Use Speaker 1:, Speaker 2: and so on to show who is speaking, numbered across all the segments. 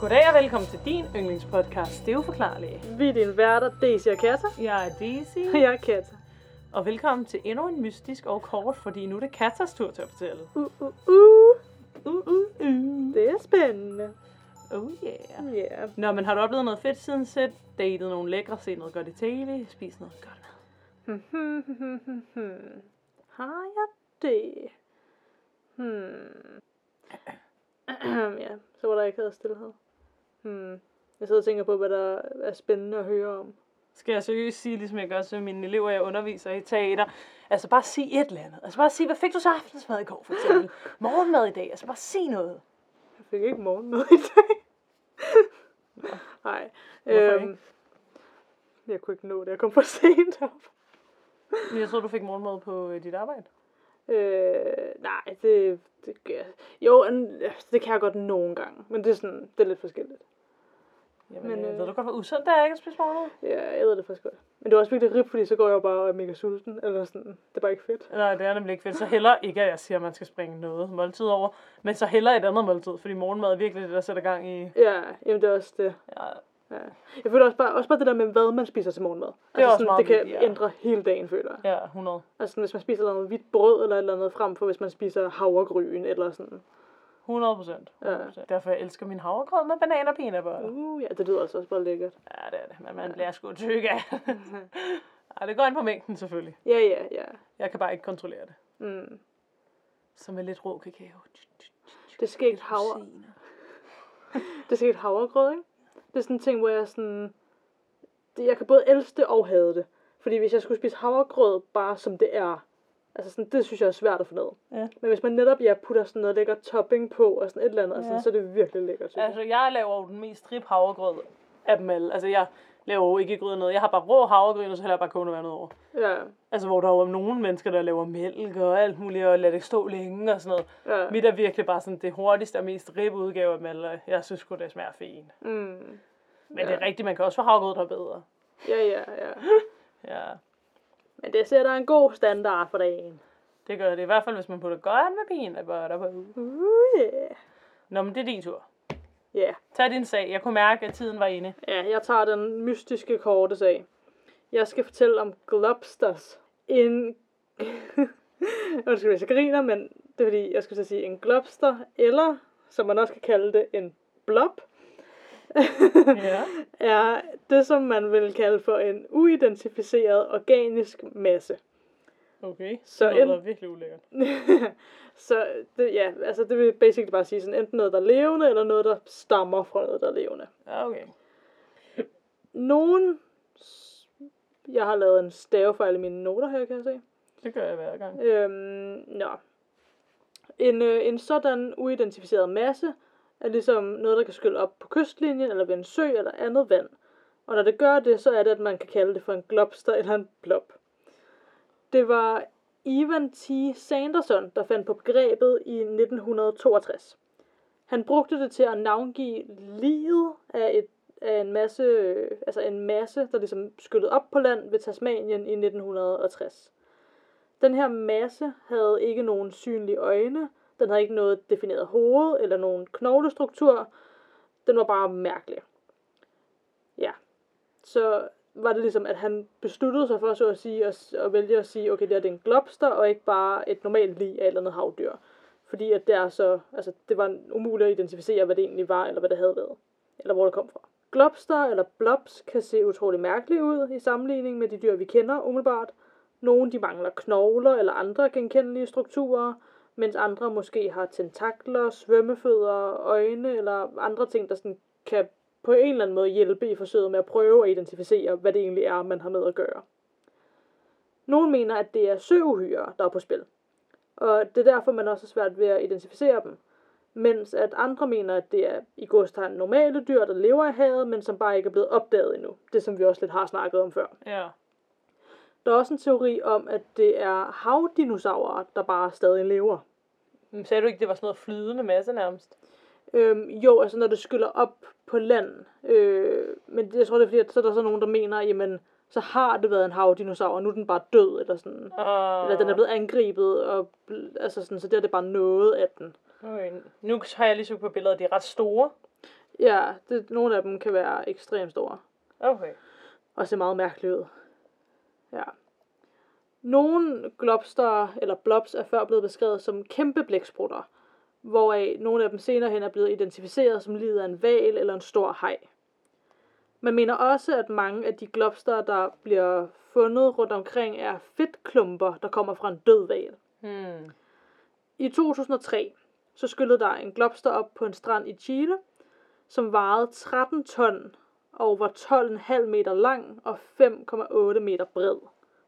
Speaker 1: Goddag og velkommen til din yndlingspodcast, Det er uforklarlige.
Speaker 2: Vi er dine værter, Daisy og Katta.
Speaker 1: Jeg er Daisy,
Speaker 2: Og jeg er Katta.
Speaker 1: og velkommen til endnu en mystisk og kort, fordi nu er det Katas tur til at fortælle.
Speaker 2: Uh, uh, uh.
Speaker 1: Uh, uh, uh.
Speaker 2: Det er spændende.
Speaker 1: Oh yeah.
Speaker 2: Yeah.
Speaker 1: Nå, men har du oplevet noget fedt siden set? Datet nogle lækre, set noget godt i tv, spist noget godt mad?
Speaker 2: Hmm, Har jeg det? Hmm. ja, så var der ikke stillhed. Hmm. Jeg sidder og tænker på, hvad der er spændende at høre om.
Speaker 1: Skal jeg seriøst sige, ligesom jeg gør til mine elever, jeg underviser i teater, altså bare sig et eller andet. Altså bare sige, hvad fik du så aftensmad i går, for eksempel? Morgenmad i dag, altså bare sig noget.
Speaker 2: Jeg fik ikke morgenmad i dag. Nej. Øhm,
Speaker 1: Hvorfor ikke?
Speaker 2: Jeg kunne ikke nå det. Jeg kom for sent op.
Speaker 1: Men jeg tror, du fik morgenmad på øh, dit arbejde.
Speaker 2: Øh, nej, det, det gør Jo, en- det kan jeg godt nogle gange. Men det er, sådan, det er lidt forskelligt.
Speaker 1: Jamen,
Speaker 2: Men,
Speaker 1: men, øh, ved
Speaker 2: øh,
Speaker 1: du godt, hvor usundt det er ikke at spise morgenmad?
Speaker 2: Ja, jeg ved det faktisk godt. Men det er også virkelig rip, fordi så går jeg jo bare og er mega sulten. Eller sådan. Det er bare ikke fedt.
Speaker 1: Nej, det er nemlig ikke fedt. Så heller ikke, at jeg siger, at man skal springe noget måltid over, men så heller et andet måltid, fordi morgenmad er virkelig det, der sætter gang i...
Speaker 2: Ja, jamen det er også det.
Speaker 1: Ja,
Speaker 2: Ja. Jeg føler også bare, også bare det der med, hvad man spiser til morgenmad. Det,
Speaker 1: også meget
Speaker 2: det kan
Speaker 1: vigtigt, ja.
Speaker 2: ændre hele dagen, føler jeg.
Speaker 1: ja 100.
Speaker 2: Altså sådan, hvis man spiser noget hvidt brød eller et eller andet, frem for hvis man spiser havregryn eller sådan.
Speaker 1: 100 procent.
Speaker 2: Ja.
Speaker 1: Derfor jeg elsker min havregrød med banan og peanøtter.
Speaker 2: Uh, ja, det lyder altså også bare lækkert.
Speaker 1: Ja, det er det. Men man bliver sgu tyk af. Ej, det går ind på mængden selvfølgelig.
Speaker 2: Ja, ja, ja.
Speaker 1: Jeg kan bare ikke kontrollere det.
Speaker 2: Mm.
Speaker 1: Så med lidt rå kakao.
Speaker 2: Det er skægt havre.
Speaker 1: Rosiner.
Speaker 2: Det er sikkert havregrød, ikke? Det er sådan en ting, hvor jeg sådan... Det, jeg kan både elske det og hade det. Fordi hvis jeg skulle spise havregrød bare som det er, altså sådan, det synes jeg er svært at få ned.
Speaker 1: Ja.
Speaker 2: Men hvis man netop ja, putter sådan noget lækker topping på og sådan et eller andet,
Speaker 1: Ja.
Speaker 2: ja. sådan, så er det virkelig lækkert. Synes jeg.
Speaker 1: Altså, jeg laver jo den mest strip havregrød af dem alle. Altså, jeg laver jo ikke grød noget. Jeg har bare rå havregryn, og så hælder jeg bare kogende vand over.
Speaker 2: Ja,
Speaker 1: Altså, hvor der jo er nogle mennesker, der laver mælk og alt muligt, og lader det stå længe og sådan noget.
Speaker 2: ja.
Speaker 1: Mit er virkelig bare sådan det hurtigste og mest ribbe udgave af mælk, og jeg synes sgu, det smager fint.
Speaker 2: Mm.
Speaker 1: Men det er rigtigt, man kan også få havregrød, der er bedre.
Speaker 2: Ja, ja, ja.
Speaker 1: Ja,
Speaker 2: Men det sætter en god standard for dagen.
Speaker 1: det gør det. I hvert fald, hvis man putter godt med peanøtter på.
Speaker 2: Uh, yeah.
Speaker 1: Nå, men det er din tur.
Speaker 2: Ja,
Speaker 1: Tag din sag. Jeg kunne mærke, at tiden var inde.
Speaker 2: Ja, jeg tager den mystiske korte sag. Jeg skal fortælle om globsters. En... Undskyld, hvis jeg griner, men det er fordi, jeg skulle til at sige en globster, eller, som man også kan kalde det, en blob,
Speaker 1: Ja.
Speaker 2: er det, som man vil kalde for en uidentificeret organisk masse.
Speaker 1: Okay.
Speaker 2: Så
Speaker 1: Så det
Speaker 2: en-
Speaker 1: var virkelig ulækkert.
Speaker 2: Så det, ja, altså det vil basically bare sige sådan, enten noget, der er levende, eller noget, der stammer fra noget, der er levende.
Speaker 1: Ja, okay.
Speaker 2: Nogen... Jeg har lavet en stavefejl i mine noter her, kan jeg se.
Speaker 1: Det gør jeg hver gang.
Speaker 2: Øhm, nå. En, øh, en sådan uidentificeret masse er ligesom noget, der kan skylle op på kystlinjen, eller ved en sø, eller andet vand. Og når det gør det, så er det, at man kan kalde det for en globster eller en blob. Det var Ivan T. Sanderson, der fandt på begrebet i 1962. Han brugte det til at navngive livet af, et, af en masse, øh, altså en masse, der ligesom skyllede op på land ved Tasmanien i 1960. Den her masse havde ikke nogen synlige øjne, den havde ikke noget defineret hoved eller nogen knoglestruktur. Den var bare mærkelig. Ja. Så var det ligesom, at han besluttede sig for så at sige, at, at vælge at sige, okay, det her det er en globster, og ikke bare et normalt lig af et eller andet havdyr. Fordi at det, er så, altså, det var umuligt at identificere, hvad det egentlig var, eller hvad det havde været. Eller hvor det kom fra. Globster eller blobs kan se utrolig mærkelige ud i sammenligning med de dyr, vi kender umiddelbart. Nogle de mangler knogler eller andre genkendelige strukturer, mens andre måske har tentakler, svømmefødder, øjne eller andre ting, der sådan kan på en eller anden måde hjælpe i forsøget med at prøve at identificere, hvad det egentlig er, man har med at gøre. Nogle mener, at det er søuhyrer, der er på spil, og det er derfor, man også har svært ved at identificere dem. Mens at andre mener, at det er i godstegn normale dyr, der lever i havet, men som bare ikke er blevet opdaget endnu. Det, som vi også lidt har snakket om før.
Speaker 1: Ja.
Speaker 2: Der er også en teori om, at det er havdinosaurer, der bare stadig lever.
Speaker 1: Men sagde du ikke, det var sådan noget flydende masse nærmest?
Speaker 2: Øhm, jo, altså når det skyller op på land. Øh, men jeg tror, det er fordi, at så er der så nogen, der mener, jamen, så har det været en havdinosaur, og nu er den bare død, eller sådan.
Speaker 1: Og...
Speaker 2: Eller den er blevet angrebet, og bl- altså sådan, så det er det bare noget af den.
Speaker 1: Okay. Nu har jeg lige søgt på billeder, de er ret store.
Speaker 2: Ja, det, nogle af dem kan være ekstremt store.
Speaker 1: Okay.
Speaker 2: og ser meget mærkeligt ud. Ja. Nogle globster, eller blobs, er før blevet beskrevet som kæmpe blæksprutter, hvoraf nogle af dem senere hen er blevet identificeret som livet af en val eller en stor haj. Man mener også, at mange af de globster, der bliver fundet rundt omkring, er fedtklumper, der kommer fra en død val.
Speaker 1: Hmm.
Speaker 2: I 2003, så skyllede der en globster op på en strand i Chile, som vejede 13 ton og var 12,5 meter lang og 5,8 meter bred.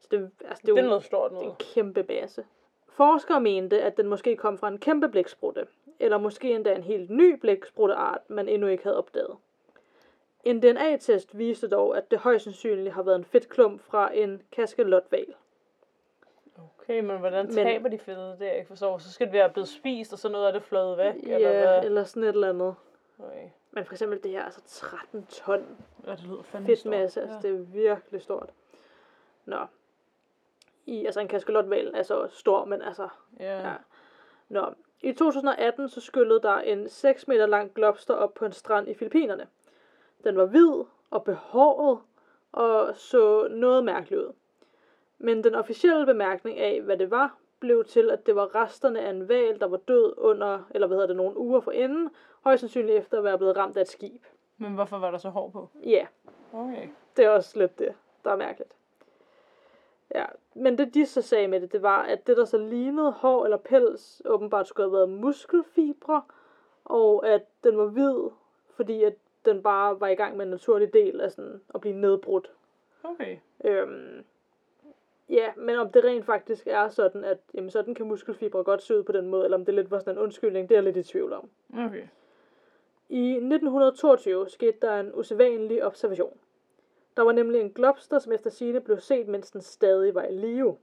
Speaker 2: Så det, altså, det,
Speaker 1: Det
Speaker 2: er
Speaker 1: er
Speaker 2: jo
Speaker 1: noget stort
Speaker 2: en
Speaker 1: noget.
Speaker 2: kæmpe base. Forskere mente, at den måske kom fra en kæmpe blæksprutte, eller måske endda en helt ny blæksprutteart, man endnu ikke havde opdaget. En DNA-test viste dog, at det højst sandsynligt har været en fedtklump fra en kaskelotval.
Speaker 1: Okay, men hvordan
Speaker 2: Men-
Speaker 1: taber de fedtet? Det er jeg ikke forstår. Så skal det være blevet spist, og så noget af det fløjet væk, eller
Speaker 2: Ja,
Speaker 1: hvad?
Speaker 2: eller sådan et eller andet.
Speaker 1: Okay.
Speaker 2: Men for eksempel det her, altså 13 ton
Speaker 1: Ja, det lyder fandme
Speaker 2: fedtmasse. Altså, det er virkelig stort. Nå. I, altså, en kaskelotval er så stor, men altså...
Speaker 1: Ja.
Speaker 2: Ja. Nå. I 2018 så skyllede der en 6 meter lang globster op på en strand i Filippinerne. Den var hvid og behåret og så noget mærkeligt ud. Men den officielle bemærkning af, hvad det var, blev til, at det var resterne af en val, der var død under, eller hvad hedder det, nogle uger forinden, højst sandsynligt efter at være blevet ramt af et skib.
Speaker 1: Men hvorfor var der så hår på?
Speaker 2: Ja,
Speaker 1: Okay.
Speaker 2: det er også lidt det, der er mærkeligt. Ja, men det de så sagde med det, det var, at det der så lignede hår eller pels, åbenbart skulle have været muskelfibre, og at den var hvid, fordi at den bare var i gang med en naturlig del af sådan at blive nedbrudt.
Speaker 1: Okay.
Speaker 2: Øhm, ja, men om det rent faktisk er sådan, at jamen, sådan kan muskelfibre godt se ud på den måde, eller om det lidt var sådan en undskyldning, det er jeg lidt i tvivl om.
Speaker 1: Okay.
Speaker 2: I 1922 skete der en usædvanlig observation. Der var nemlig en globster, som efter sine blev set, mens den stadig var i live.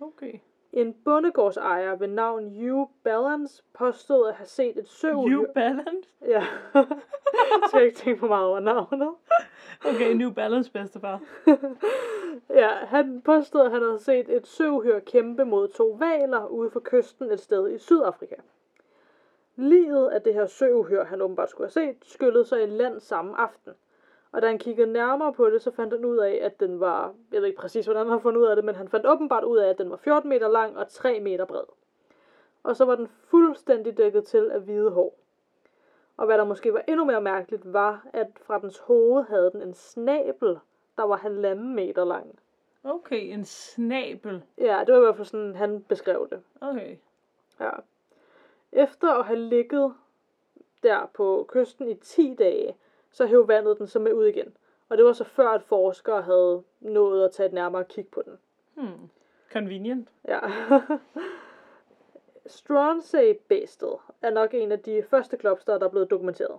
Speaker 1: Okay.
Speaker 2: En bondegårdsejer ved navn Hugh Balance påstod at have set et søvn.
Speaker 1: New Balance?
Speaker 2: Ja. Jeg skal ikke tænke for meget over navnet.
Speaker 1: Okay, New Balance bedstefar.
Speaker 2: ja, han påstod, at han havde set et søvhyr kæmpe mod to valer ude for kysten et sted i Sydafrika. Livet af det her søvhyr, han åbenbart skulle have set, skyllede sig i land samme aften. Og da han kiggede nærmere på det, så fandt han ud af, at den var... Jeg ved ikke præcis, hvordan han har fundet ud af det, men han fandt åbenbart ud af, at den var 14 meter lang og 3 meter bred. Og så var den fuldstændig dækket til af hvide hår. Og hvad der måske var endnu mere mærkeligt, var, at fra dens hoved havde den en snabel, der var halvanden meter lang.
Speaker 1: Okay, en snabel.
Speaker 2: Ja, det var i hvert fald sådan, han beskrev det.
Speaker 1: Okay.
Speaker 2: Ja. Efter at have ligget der på kysten i 10 dage, så hæv vandet den så med ud igen. Og det var så før, at forskere havde nået at tage et nærmere kig på den.
Speaker 1: Hmm. Convenient.
Speaker 2: Ja. Stronsay-bæstet er nok en af de første klopster, der er blevet dokumenteret.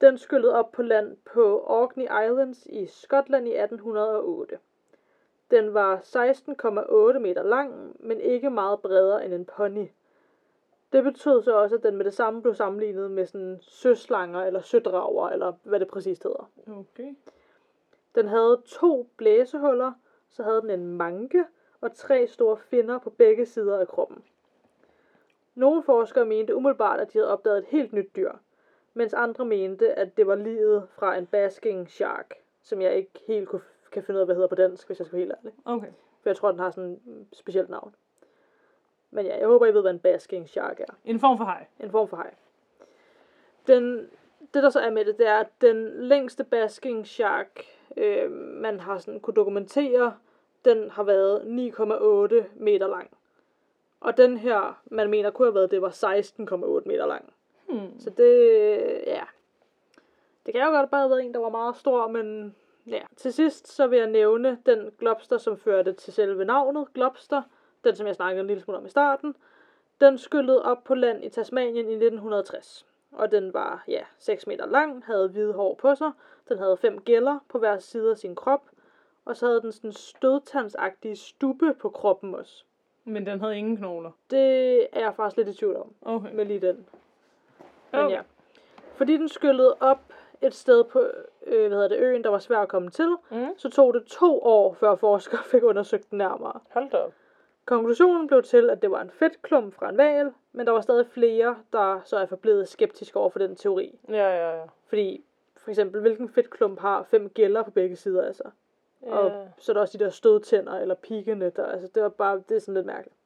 Speaker 2: Den skyllede op på land på Orkney Islands i Skotland i 1808. Den var 16,8 meter lang, men ikke meget bredere end en pony. Det betød så også, at den med det samme blev sammenlignet med sådan søslanger eller sødrager, eller hvad det præcist hedder.
Speaker 1: Okay.
Speaker 2: Den havde to blæsehuller, så havde den en manke og tre store finner på begge sider af kroppen. Nogle forskere mente umiddelbart, at de havde opdaget et helt nyt dyr, mens andre mente, at det var livet fra en basking shark, som jeg ikke helt kunne, kan finde ud af, hvad hedder på dansk, hvis jeg skal være helt ærlig.
Speaker 1: Okay.
Speaker 2: For jeg tror, den har sådan et specielt navn. Men ja, jeg håber, I ved, hvad en basking shark er.
Speaker 1: En form for hej.
Speaker 2: En form for haj. Den, det, der så er med det, det er, at den længste basking shark, øh, man har sådan kunne dokumentere, den har været 9,8 meter lang. Og den her, man mener kunne have været, det var 16,8 meter lang.
Speaker 1: Hmm.
Speaker 2: Så det, ja. Det kan jo godt bare have været en, der var meget stor, men ja. Til sidst så vil jeg nævne den globster, som førte til selve navnet globster. Den, som jeg snakkede en lille smule om i starten. Den skyllede op på land i Tasmanien i 1960. Og den var, ja, 6 meter lang, havde hvide hår på sig. Den havde fem gæller på hver side af sin krop. Og så havde den sådan stødtandsagtige stube på kroppen også.
Speaker 1: Men den havde ingen knogler.
Speaker 2: Det er jeg faktisk lidt i tvivl om
Speaker 1: Okay.
Speaker 2: med lige den. Men
Speaker 1: Okay.
Speaker 2: ja. Fordi den skyllede op et sted på øh, hvad hedder det, øen, der var svær at komme til,
Speaker 1: Mm.
Speaker 2: så tog det to år, før forskere fik undersøgt den nærmere.
Speaker 1: Hold da op.
Speaker 2: Konklusionen blev til, at det var en fedtklump fra en val, men der var stadig flere, der så er forblevet skeptiske over for den teori.
Speaker 1: Ja, ja, ja.
Speaker 2: Fordi for eksempel, hvilken fedtklump har fem gælder på begge sider af sig?
Speaker 1: Ja.
Speaker 2: Og så er der også de der stødtænder eller pikkene, der, altså det var bare, det er sådan lidt mærkeligt.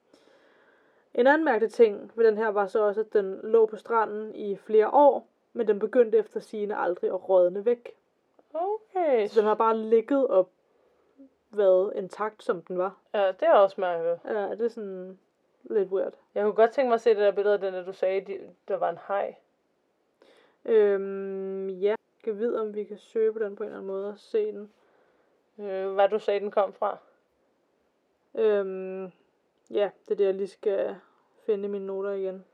Speaker 2: En anden mærkelig ting ved den her var så også, at den lå på stranden i flere år, men den begyndte efter sigende aldrig at rådne væk.
Speaker 1: Okay.
Speaker 2: Så den har bare ligget og været intakt, som den var.
Speaker 1: Ja, det er også mærkeligt.
Speaker 2: Ja, det er sådan lidt weird.
Speaker 1: Jeg kunne godt tænke mig at se det der billede af den, der du sagde, de, der var en hej.
Speaker 2: Øhm, ja. Jeg vide, om vi kan søge på den på en eller anden måde og se den.
Speaker 1: Øh, hvad du sagde, den kom fra.
Speaker 2: Øhm, ja, det er det, jeg lige skal finde i mine noter igen.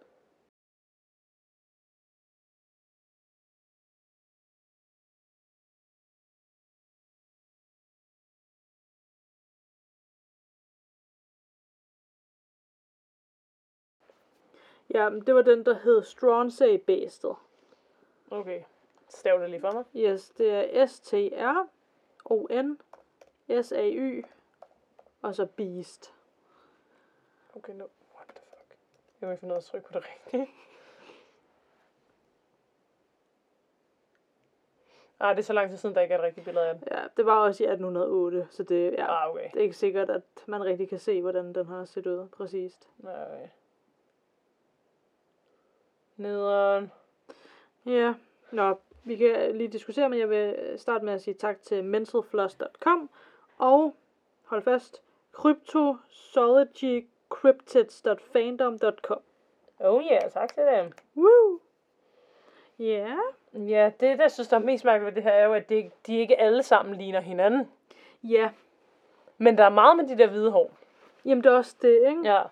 Speaker 2: Ja, men det var den, der hed Stronsay-bæstet.
Speaker 1: Okay. Stav det lige for mig.
Speaker 2: Yes, det er S-T-R-O-N, S-A-Y, og så Beast.
Speaker 1: Okay, nu. What the fuck? Jeg må ikke finde ud af at trykke på det rigtige. Ah, det er så lang tid siden, der ikke er et rigtigt billede af den.
Speaker 2: Ja, det var også i 1808, så det, ja,
Speaker 1: Ah, okay.
Speaker 2: det er ikke sikkert, at man rigtig kan se, hvordan den har set ud præcist.
Speaker 1: Nej, okay. Nederen.
Speaker 2: Ja, nå, vi kan lige diskutere, men jeg vil starte med at sige tak til mentalfloss.com og, hold fast, cryptozoologycryptids.fandom.com.
Speaker 1: Oh yeah, tak til dem.
Speaker 2: Woo! Ja. Yeah.
Speaker 1: Ja, det, der synes, der er mest mærkeligt ved det her, er jo, at det, de ikke alle sammen ligner hinanden.
Speaker 2: Ja, yeah.
Speaker 1: Men der er meget med de der hvide hår.
Speaker 2: jamen det er også det, ikke?
Speaker 1: Ja.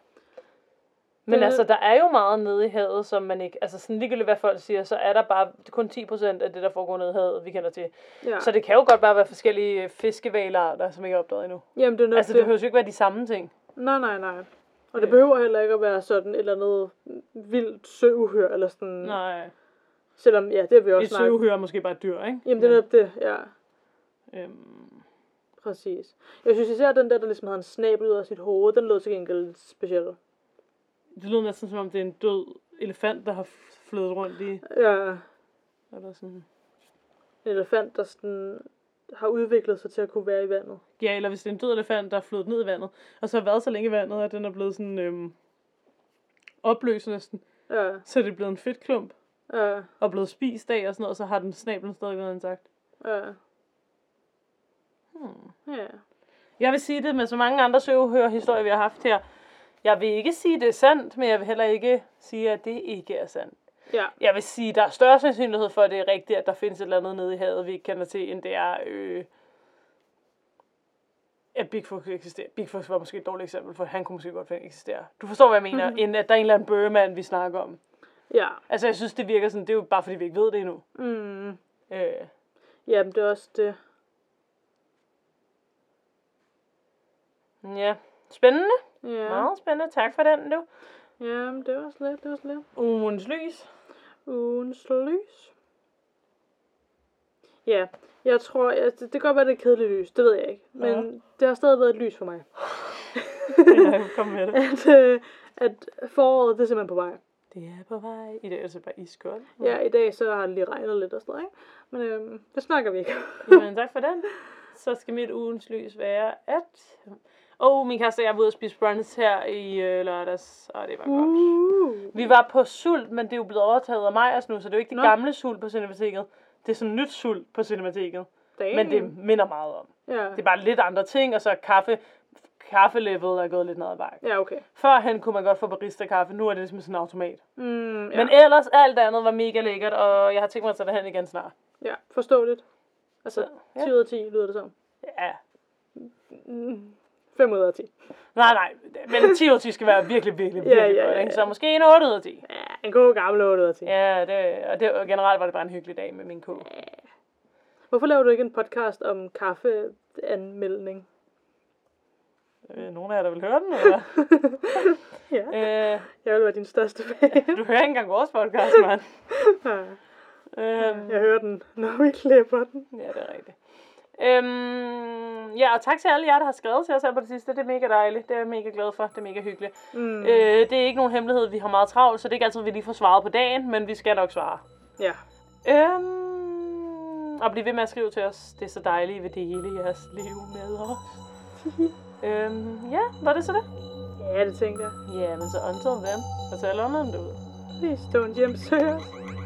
Speaker 1: Men
Speaker 2: Det-
Speaker 1: altså, der er jo meget nede i havet, som man ikke... Altså, sådan ligegyldigt hvad folk siger, så er der bare kun 10% af det, der foregår nede i havet, vi kender til.
Speaker 2: ja.
Speaker 1: Så det kan jo godt bare være forskellige øh, fiskevalarter, som ikke er opdaget endnu.
Speaker 2: Jamen, det er nok
Speaker 1: Altså,
Speaker 2: altså,
Speaker 1: det
Speaker 2: det.
Speaker 1: behøver jo ikke være de samme ting.
Speaker 2: Nej, nej, nej. Og det behøver heller ikke at være sådan et eller andet vildt søuhyr, eller sådan...
Speaker 1: Nej.
Speaker 2: Selvom, ja, det har vi også
Speaker 1: Et
Speaker 2: snakket.
Speaker 1: søuhyre er måske bare et dyr, ikke?
Speaker 2: Jamen, det er netop det, ja.
Speaker 1: Øhm,
Speaker 2: Præcis. Jeg synes især, at den der, der ligesom havde en snabel ud af sit hoved, den lød til gengæld lidt speciel.
Speaker 1: det lyder næsten som om, det er en død elefant, der har flyttet rundt i...
Speaker 2: Ja,
Speaker 1: Eller sådan.
Speaker 2: en elefant, der sådan har udviklet sig til at kunne være i vandet.
Speaker 1: Ja, eller hvis det er en død elefant, der er flyttet ned i vandet, og så har været så længe i vandet, at den er blevet sådan øhm, opløst næsten.
Speaker 2: Ja,
Speaker 1: Så er det blevet en fedtklump.
Speaker 2: ja,
Speaker 1: og blevet spist af og sådan noget, og så har den snablen stadig været intakt.
Speaker 2: ja.
Speaker 1: Hmm.
Speaker 2: Ja.
Speaker 1: Jeg vil sige det med så mange andre søvhørhistorier, vi har haft her. Jeg vil ikke sige, det er sandt, men jeg vil heller ikke sige, at det ikke er sandt.
Speaker 2: Ja,
Speaker 1: Jeg vil sige, der er større sandsynlighed for, at det er rigtigt, at der findes et eller andet nede i havet, vi ikke kender til, end det er, øh, at Bigfoot eksisterer. Bigfoot var måske et dårligt eksempel, for han kunne måske godt eksistere. Du forstår, hvad jeg mener,
Speaker 2: Mhm.
Speaker 1: end at der er en eller anden bøgemand, vi snakker om.
Speaker 2: ja.
Speaker 1: Altså, jeg synes, det virker sådan, det er jo bare, fordi vi ikke ved det endnu.
Speaker 2: Mm.
Speaker 1: Øh,
Speaker 2: Jamen, det er også det.
Speaker 1: ja, spændende.
Speaker 2: Ja,
Speaker 1: Meget spændende. Tak for den, du.
Speaker 2: Jamen, det var slet, det var slet.
Speaker 1: Ugens lys.
Speaker 2: Ugens lys. Ja, jeg tror, jeg, det, det kan godt være, det er et kedeligt lys, det ved jeg ikke. Men det har stadig været et lys for mig.
Speaker 1: Kom med det.
Speaker 2: at, øh, at foråret, det er simpelthen på vej.
Speaker 1: Det er på vej. I dag er det bare iskoldt.
Speaker 2: Ja, i dag så har det lige regnet lidt og sådan noget, ikke? Men øh, det snakker vi ikke om.
Speaker 1: Jamen, tak for den. Så skal mit ugens lys være, at... Åh, oh, min kæreste og jeg var ude og spise brunch her i øh, lørdags. Åh, det var godt.
Speaker 2: Uh.
Speaker 1: Vi var på sult, men det er jo blevet overtaget af Majers nu, så det er jo ikke det
Speaker 2: Nå.
Speaker 1: gamle sult på Cinemateket. Det er sådan nyt sult på Cinemateket,
Speaker 2: Damn.
Speaker 1: men det minder meget om.
Speaker 2: Ja.
Speaker 1: Det er bare lidt andre ting, og så er kaffe, kaffelevet er gået lidt ned ad bakke.
Speaker 2: ja, okay.
Speaker 1: Førhen kunne man godt få barista-kaffe, nu er det ligesom sådan en automat.
Speaker 2: Mm, ja.
Speaker 1: Men ellers, alt andet var mega lækkert, og jeg har tænkt mig at tage derhen igen snart.
Speaker 2: ja, forståeligt. Altså,
Speaker 1: Ja.
Speaker 2: 10 ud af 10 lyder det som.
Speaker 1: Ja.
Speaker 2: Mm. 5 ud af 10.
Speaker 1: Nej, nej, men 10 ud af 10 skal være virkelig, virkelig,
Speaker 2: Ja,
Speaker 1: virkelig ja,
Speaker 2: ja,
Speaker 1: ja, godt,
Speaker 2: ja,
Speaker 1: ikke?
Speaker 2: ja.
Speaker 1: Så måske en 8 ud af 10.
Speaker 2: Ja, en god gammel 8 ud af 10.
Speaker 1: Ja, det, og det, og generelt var det bare en hyggelig dag med min ko.
Speaker 2: Hvorfor laver du ikke en podcast om kaffeanmeldning?
Speaker 1: Øh, Nogen af jer, der vil høre den, eller?
Speaker 2: ja.
Speaker 1: øh,
Speaker 2: Jeg vil være din største fan.
Speaker 1: du hører ikke engang vores podcast, mand.
Speaker 2: Ja,
Speaker 1: Øh,
Speaker 2: jeg hører den, når vi klipper den.
Speaker 1: ja, det er rigtigt. Øhm, ja, og tak til alle jer, der har skrevet til os her på det sidste. Det er mega dejligt. Det er jeg mega glad for. Det er mega hyggeligt.
Speaker 2: Mm.
Speaker 1: Mm. Øh, det er ikke nogen hemmelighed. Vi har meget travlt, så det er ikke altid, vi lige får svaret på dagen, men vi skal nok svare.
Speaker 2: Ja.
Speaker 1: Øhm, og bliv ved med at skrive til os. Det er så dejligt, I vil dele jeres liv med os. øhm, ja, var det så det?
Speaker 2: Ja, det tænkte jeg.
Speaker 1: Ja, men så until then. Og så er London derude.
Speaker 2: Please don't hjem, sir.